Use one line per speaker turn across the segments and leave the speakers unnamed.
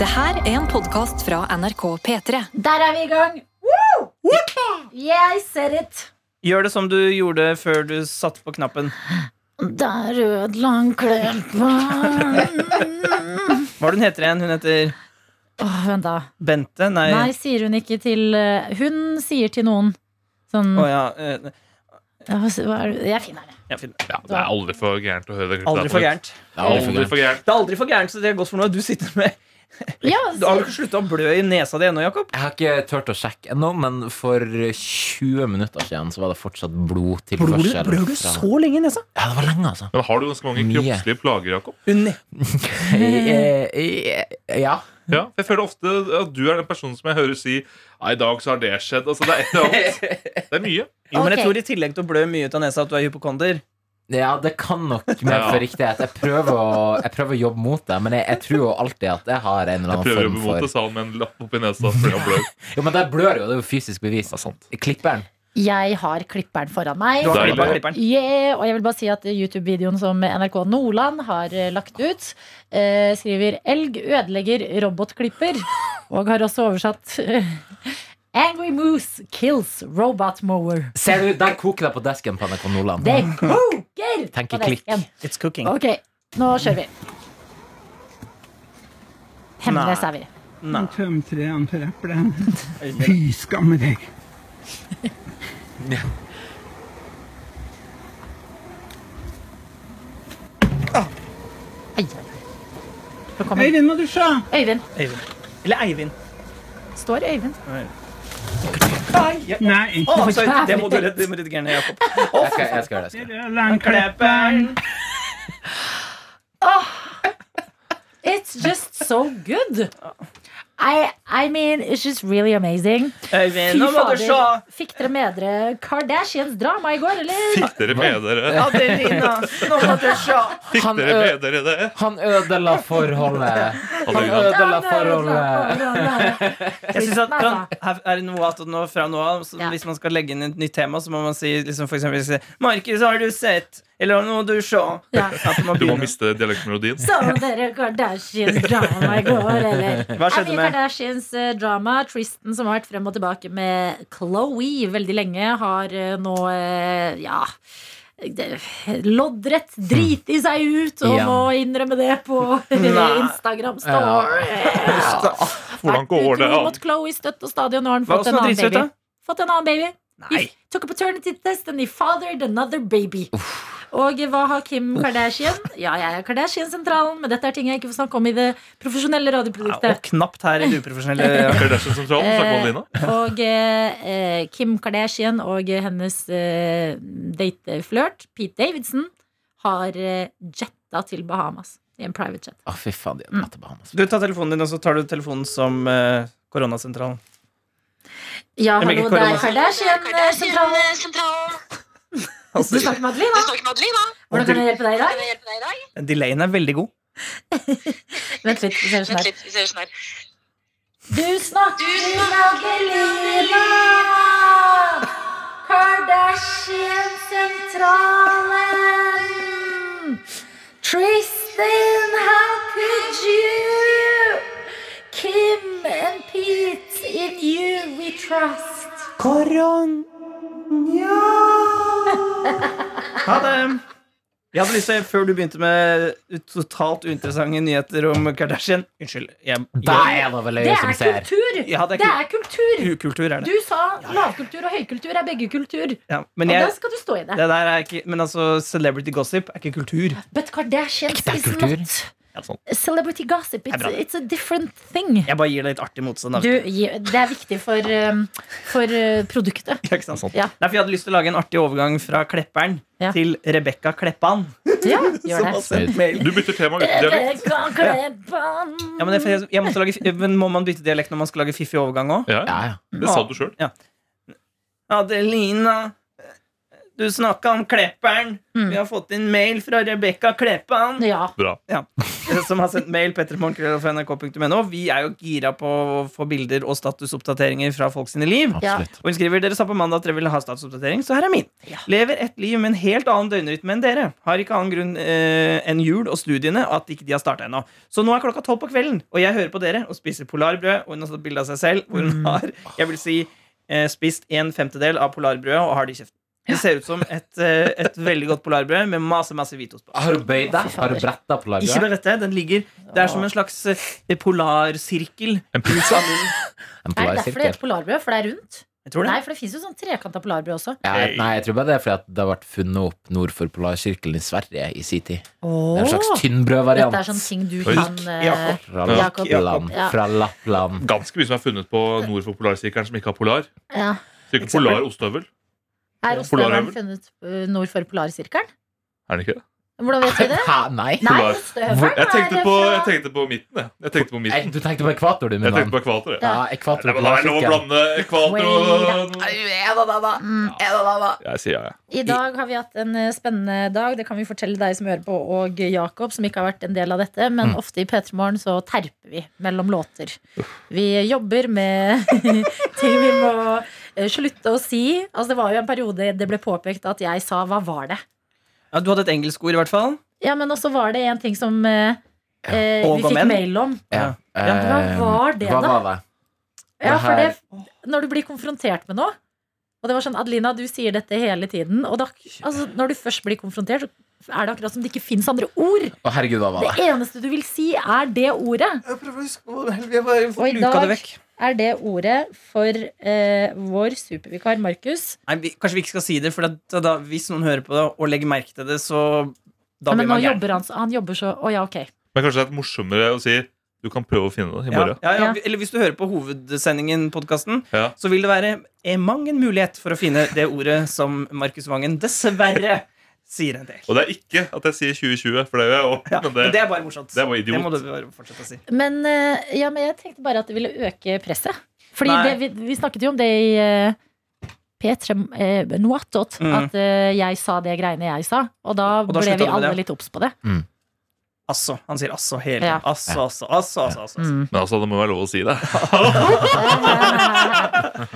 Det her er en podkast fra NRK P3.
Der er vi i gang! Jeg ser it!
Gjør det som du gjorde før du satt på knappen.
Der ødela han klærne på
Hva er det hun heter igjen? Hun heter
Åh, Vent, da.
Bente? Nei.
Nei, sier hun ikke til eh, Hun sier til noen sånn
Å, ja. eh,
ja, hva s- hva er det? Jeg finner det.
ja, fin.
Ja, det er aldri for gærent å høre
Aldri for gærent.
Det er aldri for gærent.
Det er aldri for gærent, så det er godt for noe. Du sitter med
Ja,
Du har
sier-
jo ikke slutta å blø i nesa di ennå, Jakob.
Jeg har ikke turt å sjekke ennå, men for 20 minutter siden så var det fortsatt blodtilførsel. fra-
lenge i nesa?
Ja, det var lenge, altså.
Men har du ganske mange
Mye.
kroppslige plager, Jakob?
Hun,
Eh, eh, eh, Ja.
Ja, for jeg føler ofte at du er den personen som jeg hører si «Nei, I dag så har det skjedd. Altså, det er et eller annet. Det er mye.
jo, men jeg
Ok.
tror i tillegg til å blø mye ut av nesa at du er hypokonder.
Ja, det kan nok medføre riktighet. Jeg prøver å, jeg prøver å jobbe mot det, men jeg, jeg tror jo alltid at jeg har en eller
Jeg
annen
prøver å
form
jobbe mot
for
det, sa han med en lapp oppi nesa. fordi han blør.
Jo, men der blør jo. Det er jo fysisk bevis. Klipperen.
Jeg har klipperen foran meg.
Du har
Deilig.
klippet av klipperen.
Yeah, og jeg vil bare si at YouTube-videoen som NRK Nordland har eh, lagt ut, eh, skriver 'Elg ødelegger robotklipper', og har også oversatt eh, 'Angry moose kills robot mower'.
Ser du, der koker det på desken på NRK Nordland.
Det koker!
Tenk
på
i klikk.
desken.
It's cooking.
Ok, nå kjører vi. Hemnes
Nei.
er vi.
Nei.
Tømte det an for eplet. Fy skamme deg.
Ai, ai, ai. Nå kommer
Øyvind må dusje!
Øyvind.
Eivind. Eller Eivind.
Står Øyvind?
Ai, ja.
Nei.
Å, sorry, det må du redd- det må du redigere ned, Jakob.
Jeg skal, jeg skal gjøre det. Jeg skal. gjøre det.
Lærnklepperen.
It's just so good! I, I mean, it's just really amazing.
Eivind,
Fy
Eh, nå må du
fader.
se!
Fikk dere med dere Kardashians drama i går, eller?
Fikk dere med dere,
Adelina, nå må du se!
Fikk
Han,
dere,
ø-
med dere det?
Han ødela forholdet. Han ødela forholdet.
Jeg synes at
Nei,
kan,
da.
her er det noe at nå, fra nå av så
Ja.
Hvis man skal legge inn et nytt tema, så må man si liksom, for eksempel si, 'Markus, har du sett?' Eller 'Nå du se'.
Ja.
At man
Du må
begynner.
miste dialektmelodien.
Så dere Kardashians drama i går, eller?
Hva skjedde
Nei,
med
Kardashians eh, drama, Tristan som har vært frem og tilbake med Chloé veldig lenge, har eh, nå eh, ja det- loddrett driti seg ut og
Ja.
må innrømme det på Instagram Store.
Hvordan går det
Utro
an?
mot Chloé støtt og stadig, og nå har han
Hva
fått
som
en
er
annen
dritsøtt, da?
baby. Fått en annen baby.
Nei.
He took a paternity test and he fathered another baby. Og hva har Kim Kardashian? Ja, jeg er Kardashian-sentralen, men dette er ting jeg ikke får snakke om i det profesjonelle
Ja, og
radioproduktet.
knapt her i det uprofesjonelle.
Kardashian-sentralen, snakker man Lina?
Og eh, eh, Kim Kardashian og hennes eh, dateflørt, Pete Davidson, har eh, jetta til Bahamas i en private jet.
Å, fy faen, de er til Bahamas.
Du tar telefonen din, og så tar du telefonen som eh, koronasentralen.
Ja, hallo,
Jeg merker
det er
korona.
Kardashian-sentralen.
eh, Kardashian-sentralen.
Du snakker med Adelina.
Du snakker med Adelina.
Hvordan kan jeg hjelpe deg i
Kan
dag?
jeg hjelpe deg i dag?
Den Delayen er veldig god.
Vent litt. vi ser oss
Vent
her.
litt, vi ser oss snart.
Du snakker med Adelina Kardashian-sentralen Tristan, how could you Kim and Pete, in you we trust
Koron... Ha det! Jeg hadde lyst til, Før du begynte med totalt uinteressante nyheter om Kardashian Unnskyld. Jeg,
Der
jeg,
er det vel
Det
øyet som
er
ser.
kultur!
Ja, det er
Det er kultur!
ukultur er
Du
det.
sa lavkultur og høykultur er begge kultur.
Ja,
Og
men
da
jeg,
skal du stå i det.
det der er ikke, men altså, celebrity gossip er ikke kultur.
But Kardashians
Ekte
is
kultur.
not
Ja, sånn.
Celebrity gossip,
Det er
it's,
bra.
it's a different thing.
Jeg bare gir det litt artig motstand. da,
Du,
vet
gi- det er viktig for, um, for uh, produktet.
du. Ikke sant?
Ja.
Nei, for jeg hadde lyst til å lage en artig overgang fra Klepperen
Ja.
til Rebekka Kleppan.
Ja, gjør
som har
det.
sendt mail.
Du bytter tema uten dialekt.
Ja, men, det, er for jeg, jeg måtte lage, fi- men Må man bytte dialekt når man skal lage fiffig overgang òg?
Ja,
Ja, ja.
det sa du sjøl.
Adelina, Du snakka om Klepperen.
Mm.
Vi har fått inn mail fra Rebekka Kleppan.
Ja.
Bra.
Ja. Som har sendt mail petremorgen.nrk.no. Vi er jo gira på å få bilder og statusoppdateringer fra folk sine liv.
ja.
Absolutt.
Og hun skriver dere sa på mandag at dere ville ha statusoppdatering, så her er min. Lever et liv med en helt annen døgnrytme enn dere. Har ikke annen grunn eh, enn jul og studiene at ikke de har starta ennå. Så nå er klokka tolv på kvelden, og jeg hører på dere og spiser polarbrød. Og hun har tatt bilde av seg selv hvor hun har jeg vil si, eh, spist en femtedel av polarbrødet og har det i kjeften. Det ser ut som et, eh, et veldig godt polarbrød med masse masse hvitost på.
Har du bøyd deg? Har du bretta på
Ikke
laget?
bare dette, den ligger Det er som en slags eh, polarsirkel.
En
Ut
pizza.
av munnen.
Er
En
det derfor det
polarsirkel?
heter polarbrød? For det er rundt?
Jeg tror det.
Nei, for det fins jo sånn trekanta polarbrød også.
Ja, nei, jeg tror bare det er fordi at det har vært funnet opp nord for polarsirkelen i Sverige i sin tid. Det er en slags tynnbrødvariant.
Dette er sånne ting du
Oi.
kan eh,
Jakob.
Fra
Jakob.
Lappland.
Ja.
Fra Lappland.
Ganske mye som er funnet på nord for polarsirkelen som ikke har polar.
ja.
Så ikke polar ostehøvel.
Er ostehøvelen funnet eh, nord for polarsirkelen?
Er den ikke det?
Hvordan vet vi det?
Hæ, nei?
Nei,
Polar.
ostehøvelen
Jeg tenkte
er
på,
fra-
jeg tenkte på midten, jeg. Jeg tenkte på
Nei,
midten.
Du tenkte på ekvator, du, min
Jeg tenkte
mann.
på ekvator, jeg.
Ja,
Nei,
ekvator
men da er det lov å
polarsirkelen.
blande ekvator og
Mm.
Jeg sier ja,
I
jeg.
dag har vi hatt en eh, spennende dag. Det kan vi fortelle deg som hører på, og Jakob, som ikke har vært en del av dette.
Mm.
Men ofte i P3 Morgen så terper vi mellom låter. Vi jobber med ting vi må eh, slutte å si. Altså, det var jo en periode det ble påpekt at jeg sa 'hva var det'?
Ja, du hadde et engelsk ord, i hvert fall.
Ja, men også var det en ting som eh, eh,
Og
vi
om
fikk
en.
mail om.
Ja. Eh,
Ja, hva var det,
Hva
da?
var det?
Ja,
Det
for
her-
det, når du blir konfrontert med noe Og det var sånn, Adelina, du sier dette hele tiden Og da, altså, når du først blir konfrontert Så er det akkurat som det ikke finnes andre ord
Å, herregud, hva var det?
Det eneste du vil si er det ordet
Jeg prøver å huske hva det er. Vi har bare
Og i
luka
dag-
det vekk.
Er det ordet for eh, vår supervikar Markus
Nei, vi, Kanskje vi ikke skal si det, for da, da, hvis noen hører på det og legger merke til det, så da
ja, Men
blir
nå
man gæren.
jobber han, så- han jobber så Å ja, ok
Men kanskje det er morsommere å si du kan prøve å finne det i
Ja,
morgen.
ja, ja.
Ja.
Eller hvis du hører på hovedsendingen, podkasten,
Ja.
så vil det være eh, mang en mulighet for å finne det ordet som Markus Vangen dessverre sier en del.
Og det er ikke at jeg sier 2020, for det gjør jeg òg.
Ja,
Men det,
men det er bare morsomt.
det er bare idiot.
må du bare fortsette å si.
Men, eh, ja, men jeg tenkte bare at det ville øke presset Fordi
Nei.
det, vi, vi snakket jo om det i eh, P3 eh, Noatot
Mm.
At eh, jeg sa det greiene jeg sa Og da,
Og da
ble
slutta du
vi
med
alle
det.
litt opps på det
Asså. Han sier asså hele
Ja.
tiden. Asså, asså, asså, asså, asså.
Mm.
men altså, det må være lov å si det.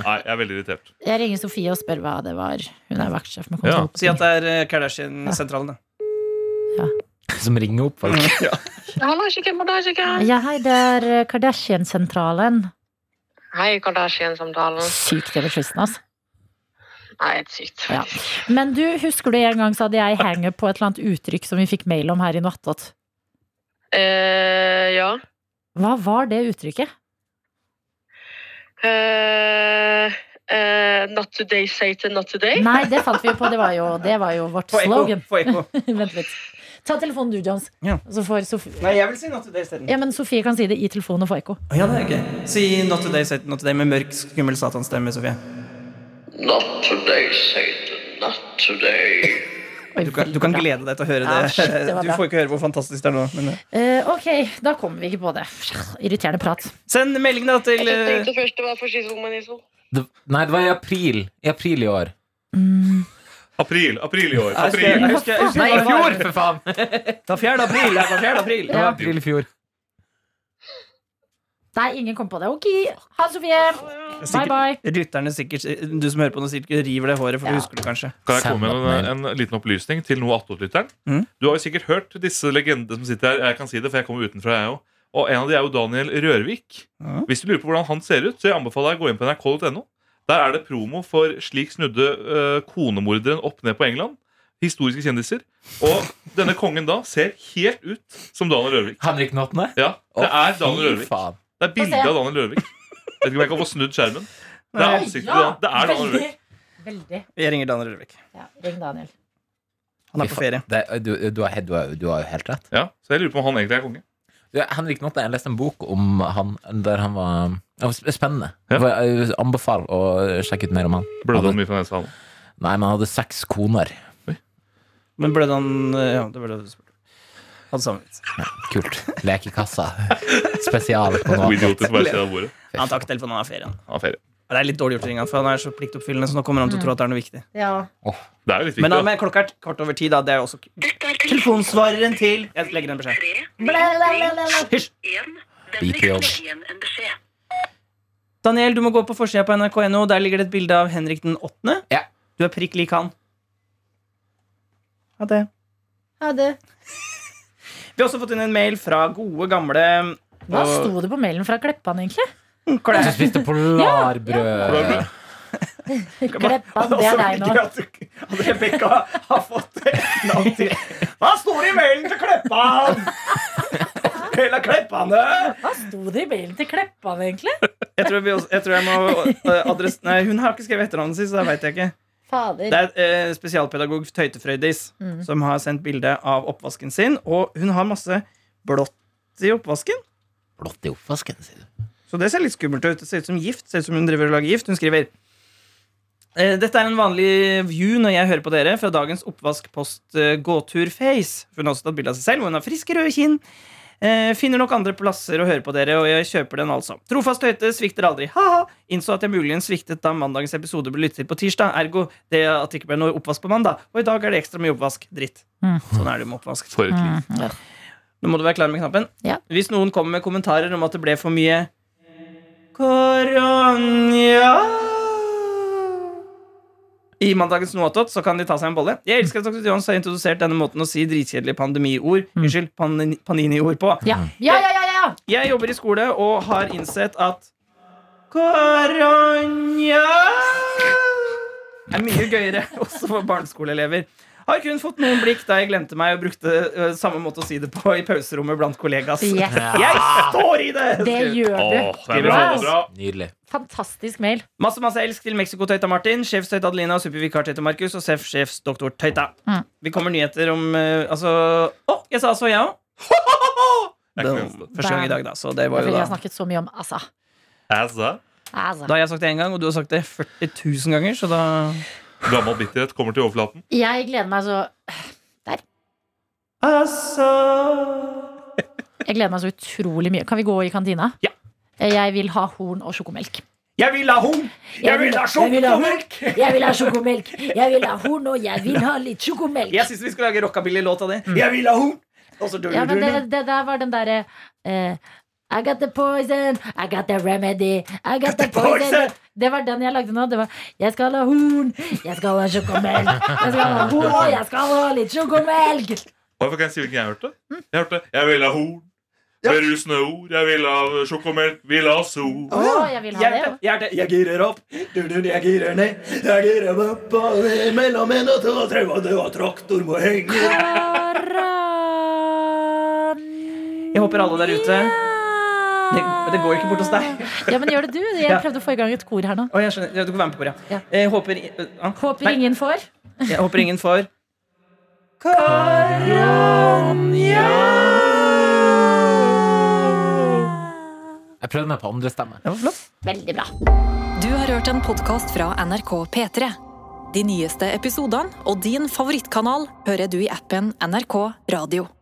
Nei, jeg er veldig irritert.
eh, Jeg ringer Sofie og spør hva det var. Hun er vaktsjef med
Ja,
kontroll. på
Si at
ting.
det er eh, Kardashian-sentralen, da.
Som ringer opp folk.
Hallasikken, hallasikken.
Ja, hei, det er eh, Kardashian-sentralen.
Hei, Kardashian-samtalen.
Sykt det var fristen, altså.
Nei, helt sykt.
Ja. Men du, husker du en gang så hadde jeg hangup på et eller annet uttrykk som vi fikk mail om her i Noattot?
Eh, ja.
Hva var det uttrykket?
Eh, eh, not today, Satan, not today.
Nei, det fant vi jo på. Det var jo, det var jo vårt
Få ekko.
slogan.
Få ekko.
Vent litt. Ta telefonen du, Johns.
Ja.
Så får Sofie
Nei, jeg vil si Not Today isteden.
Ja, men Sofie kan si det i telefonen og få ekko.
Å, Ja, det er gøy. Si Not Today, Satan, Not Today med mørk, skummel satanstemme, Sofie.
Not today, Satan, not today.
Oi,
Du kan, du
veldig
kan
bra.
glede deg til å høre
Ja,
det.
shit, det var
du
bra.
får ikke høre hvor fantastisk det er nå. Men...
Eh, ok, da kommer vi ikke på det. Irriterende prat.
Send melding da til
Jeg
eh,
tenkte først det var for skizomanisme.
Det, nei, det var i april. I april i år.
April, april i år.
jeg husker-
April.
eh, jeg husker- jeg husker-
Nei, i fjor, for faen! Det
Det var 4. april. Det var 4. april.
var april i fjor.
Nei, ingen kom på det. Ok, ha det, Sofie. Bye,
Sikkert-
bye.
Lytterne sikkert, du som hører på nå, sikkert river det håret, for du husker det kanskje.
Kan jeg komme med en, en liten opplysning til noe attåtlytteren?
Mm.
Du har jo sikkert hørt disse legendene som sitter her. Jeg kan si det, for jeg kommer utenfra, jeg òg. Og en av de er jo Daniel Rørvik.
Ja.
Hvis du lurer på hvordan han ser ut, så jeg anbefaler deg å gå inn på nrk.no. Der er det promo for 'Slik snudde eh, konemorderen opp ned på England'. Historiske kjendiser. Og denne kongen da ser helt ut som Daniel Rørvik.
Henrik den åttende?
Ja,
Å,
det er
fy
Daniel Rørvik.
faen.
Det er bilde av Daniel Rørvik. Vet ikke om jeg kan få snudd skjermen. Det er ansiktet til Dan- Det er Daniel Rørvik.
Veldig.
Jeg ringer Daniel Rørvik.
Ja, ring Daniel.
Han er på ferie.
Det, du, du, har, du, har, du har jo helt rett.
Ja, så jeg lurer på om han egentlig er konge.
Du, Henrik Notte, jeg leste en bok om han der han var Det var sp- spennende.
Ja.
For Jeg anbefaler å sjekke ut mer om han.
Blødde
han
han mye fra nesa? han?
Nei, men han hadde seks koner.
Men ble han eh, Ja, det ble det du spurte om. Hadde samme vits.
Kult. Lekekassa. Spesial på
To
noe.
idioter som bare ser av bordet.
Han tar ikke telefonen, han har ferie. han.
Han har ferie.
Ja, Det er litt dårlig gjort, Ringan, for han er så pliktoppfyllende, så nå kommer han til å
Mm.
tro at det er noe viktig.
Ja.
Det er jo litt
Men da
viktig. da.
med klokka er kvart over ti, da. Det er jo også
Dette er
telefonsvareren til Jeg legger en beskjed. Hysj!
Beep jobb.
Daniel, du må gå på forsida på nrk.no. Der ligger det et bilde av Henrik den 8.
Ja.
Du er prikk lik han. Ha det.
Ha det.
Vi har også fått inn en mail fra gode, gamle
Hva
og-
sto det på mailen fra Kleppan, egentlig?
Klæ-
Du spiste polarbrød.
Polarbrød.
Kleppan, det er deg
Også
nå.
veldig gøy at- at Rebekka har fått et navn til. Hva står det i mailen til Kleppan? Hele Kleppane!
Hva sto det i mailen til Kleppan, egentlig?
Jeg tror, vi også, jeg tror jeg må eh, adress... Nei, hun har ikke skrevet etternavnet sitt, så det veit jeg ikke.
Fader.
Det er eh, spesialpedagog Tøytefrøydis som har sendt bilde av oppvasken sin. Og hun har masse blått i oppvasken,
Blått i oppvasken, sier du.
så det ser litt skummelt ut. Det ser ut som gift. Ser ut som hun driver og lager gift. Hun skriver eh, dette er en vanlig view når jeg hører på dere fra dagens oppvaskpost-gåtur-face. Hun har også tatt bilde av seg selv, hvor hun har friske, røde kinn. Eh, finner nok andre plasser å høre på dere, og jeg kjøper den altså. Trofast høyte svikter aldri. Ha-ha! Innså at jeg muligens sviktet da mandagens episode ble lyttet til på tirsdag. Ergo det at det ikke ble noe oppvask på mandag. Og i dag er det ekstra mye oppvask. Dritt.
Mm.
Sånn er det med oppvask.
For et liv.
Nå må du være klar med knappen.
Ja.
Hvis noen kommer med kommentarer om at det ble for mye Koronja i mandagens Noatot, så kan de ta seg en bolle. Jeg elsker at Dr. Jones har introdusert denne måten å si dritkjedelige pandemiord
Mm.
Unnskyld, panini- paniniord på.
Ja, ja, ja! ja, ja.
Jeg jobber i skole og har innsett at Koronja er mye gøyere, også for barneskoleelever. Har kun fått noen blikk da jeg glemte meg og brukte øh, samme måte å si det på i pauserommet blant kollegas.
Yes.
Jeg står i det!
Det gjør du.
Åh, det er bra, det er bra.
Nydelig.
Fantastisk mail.
Masse masse elsk til Mexico-tøyta Martin, sjefstøyta Adelina og supervikar tøyta Markus og sjef-sjefsdoktor Tøyta.
Mm.
Vi kommer nyheter om øh, Altså Å, jeg sa altså, jeg òg.
Det er ikke det eneste.
Første gang i dag, da. Så det
Det
var
ville
jo
jeg
da
snakket så mye om. Altså.
Altså,
altså.
Da har jeg sagt det én gang, og du har sagt det 40 000 ganger, så da
Gammel bitterhet kommer til overflaten.
Jeg gleder meg så
Altså
Jeg gleder meg så utrolig mye. Kan vi gå i kantina? Eh,
Ja.
Jeg vil ha horn og sjokomelk.
Jeg vil ha hund! Jeg vil ha sjokomelk!
Jeg vil ha sjokomelk! Jeg vil ha horn, og jeg vil ha litt sjokomelk!
Jeg syns vi skal lage rockabilly-låt av det. Mm. Jeg vil ha horn! Og så
Ja, men det,
dør-dør-dør.
det der var den derre eh, I got the poison, I got the remedy, I got the poison.
poison.
Det var den jeg lagde nå. Det var Jeg skal ha horn, jeg skal ha sjokomelk, jeg skal ha horn, og jeg skal ha litt sjokomelk!
Hvorfor kan jeg si hvilken jeg hørte? Jeg hørte 'Jeg vil ha horn'. Berusende ord. Jeg vil ha sjokomelk. Vil ha sol.
Å, jeg vil ha det.
Hjerte, hjerte, jeg girer opp. Du-du, jeg girer ned. Jeg girer opp og ned mellom en og to og tre, og du og traktor må henge. Jeg håper alle der ute Det, det går ikke bort hos deg.
Ja, men gjør det du. Jeg
Ja.
prøvde å få i gang et kor her nå.
Å, jeg skjønner. Ja, Du kan være med på koret.
Ja.
Jeg håper, i- øh, ja.
Håper
Nei,
ingen får.
Jeg håper ingen får Karanja.
Jeg prøvde meg på andre stemme.
Det var flott.
Veldig bra.
Du har hørt en podkast fra NRK P3. De nyeste episodene og din favorittkanal hører du i appen NRK Radio.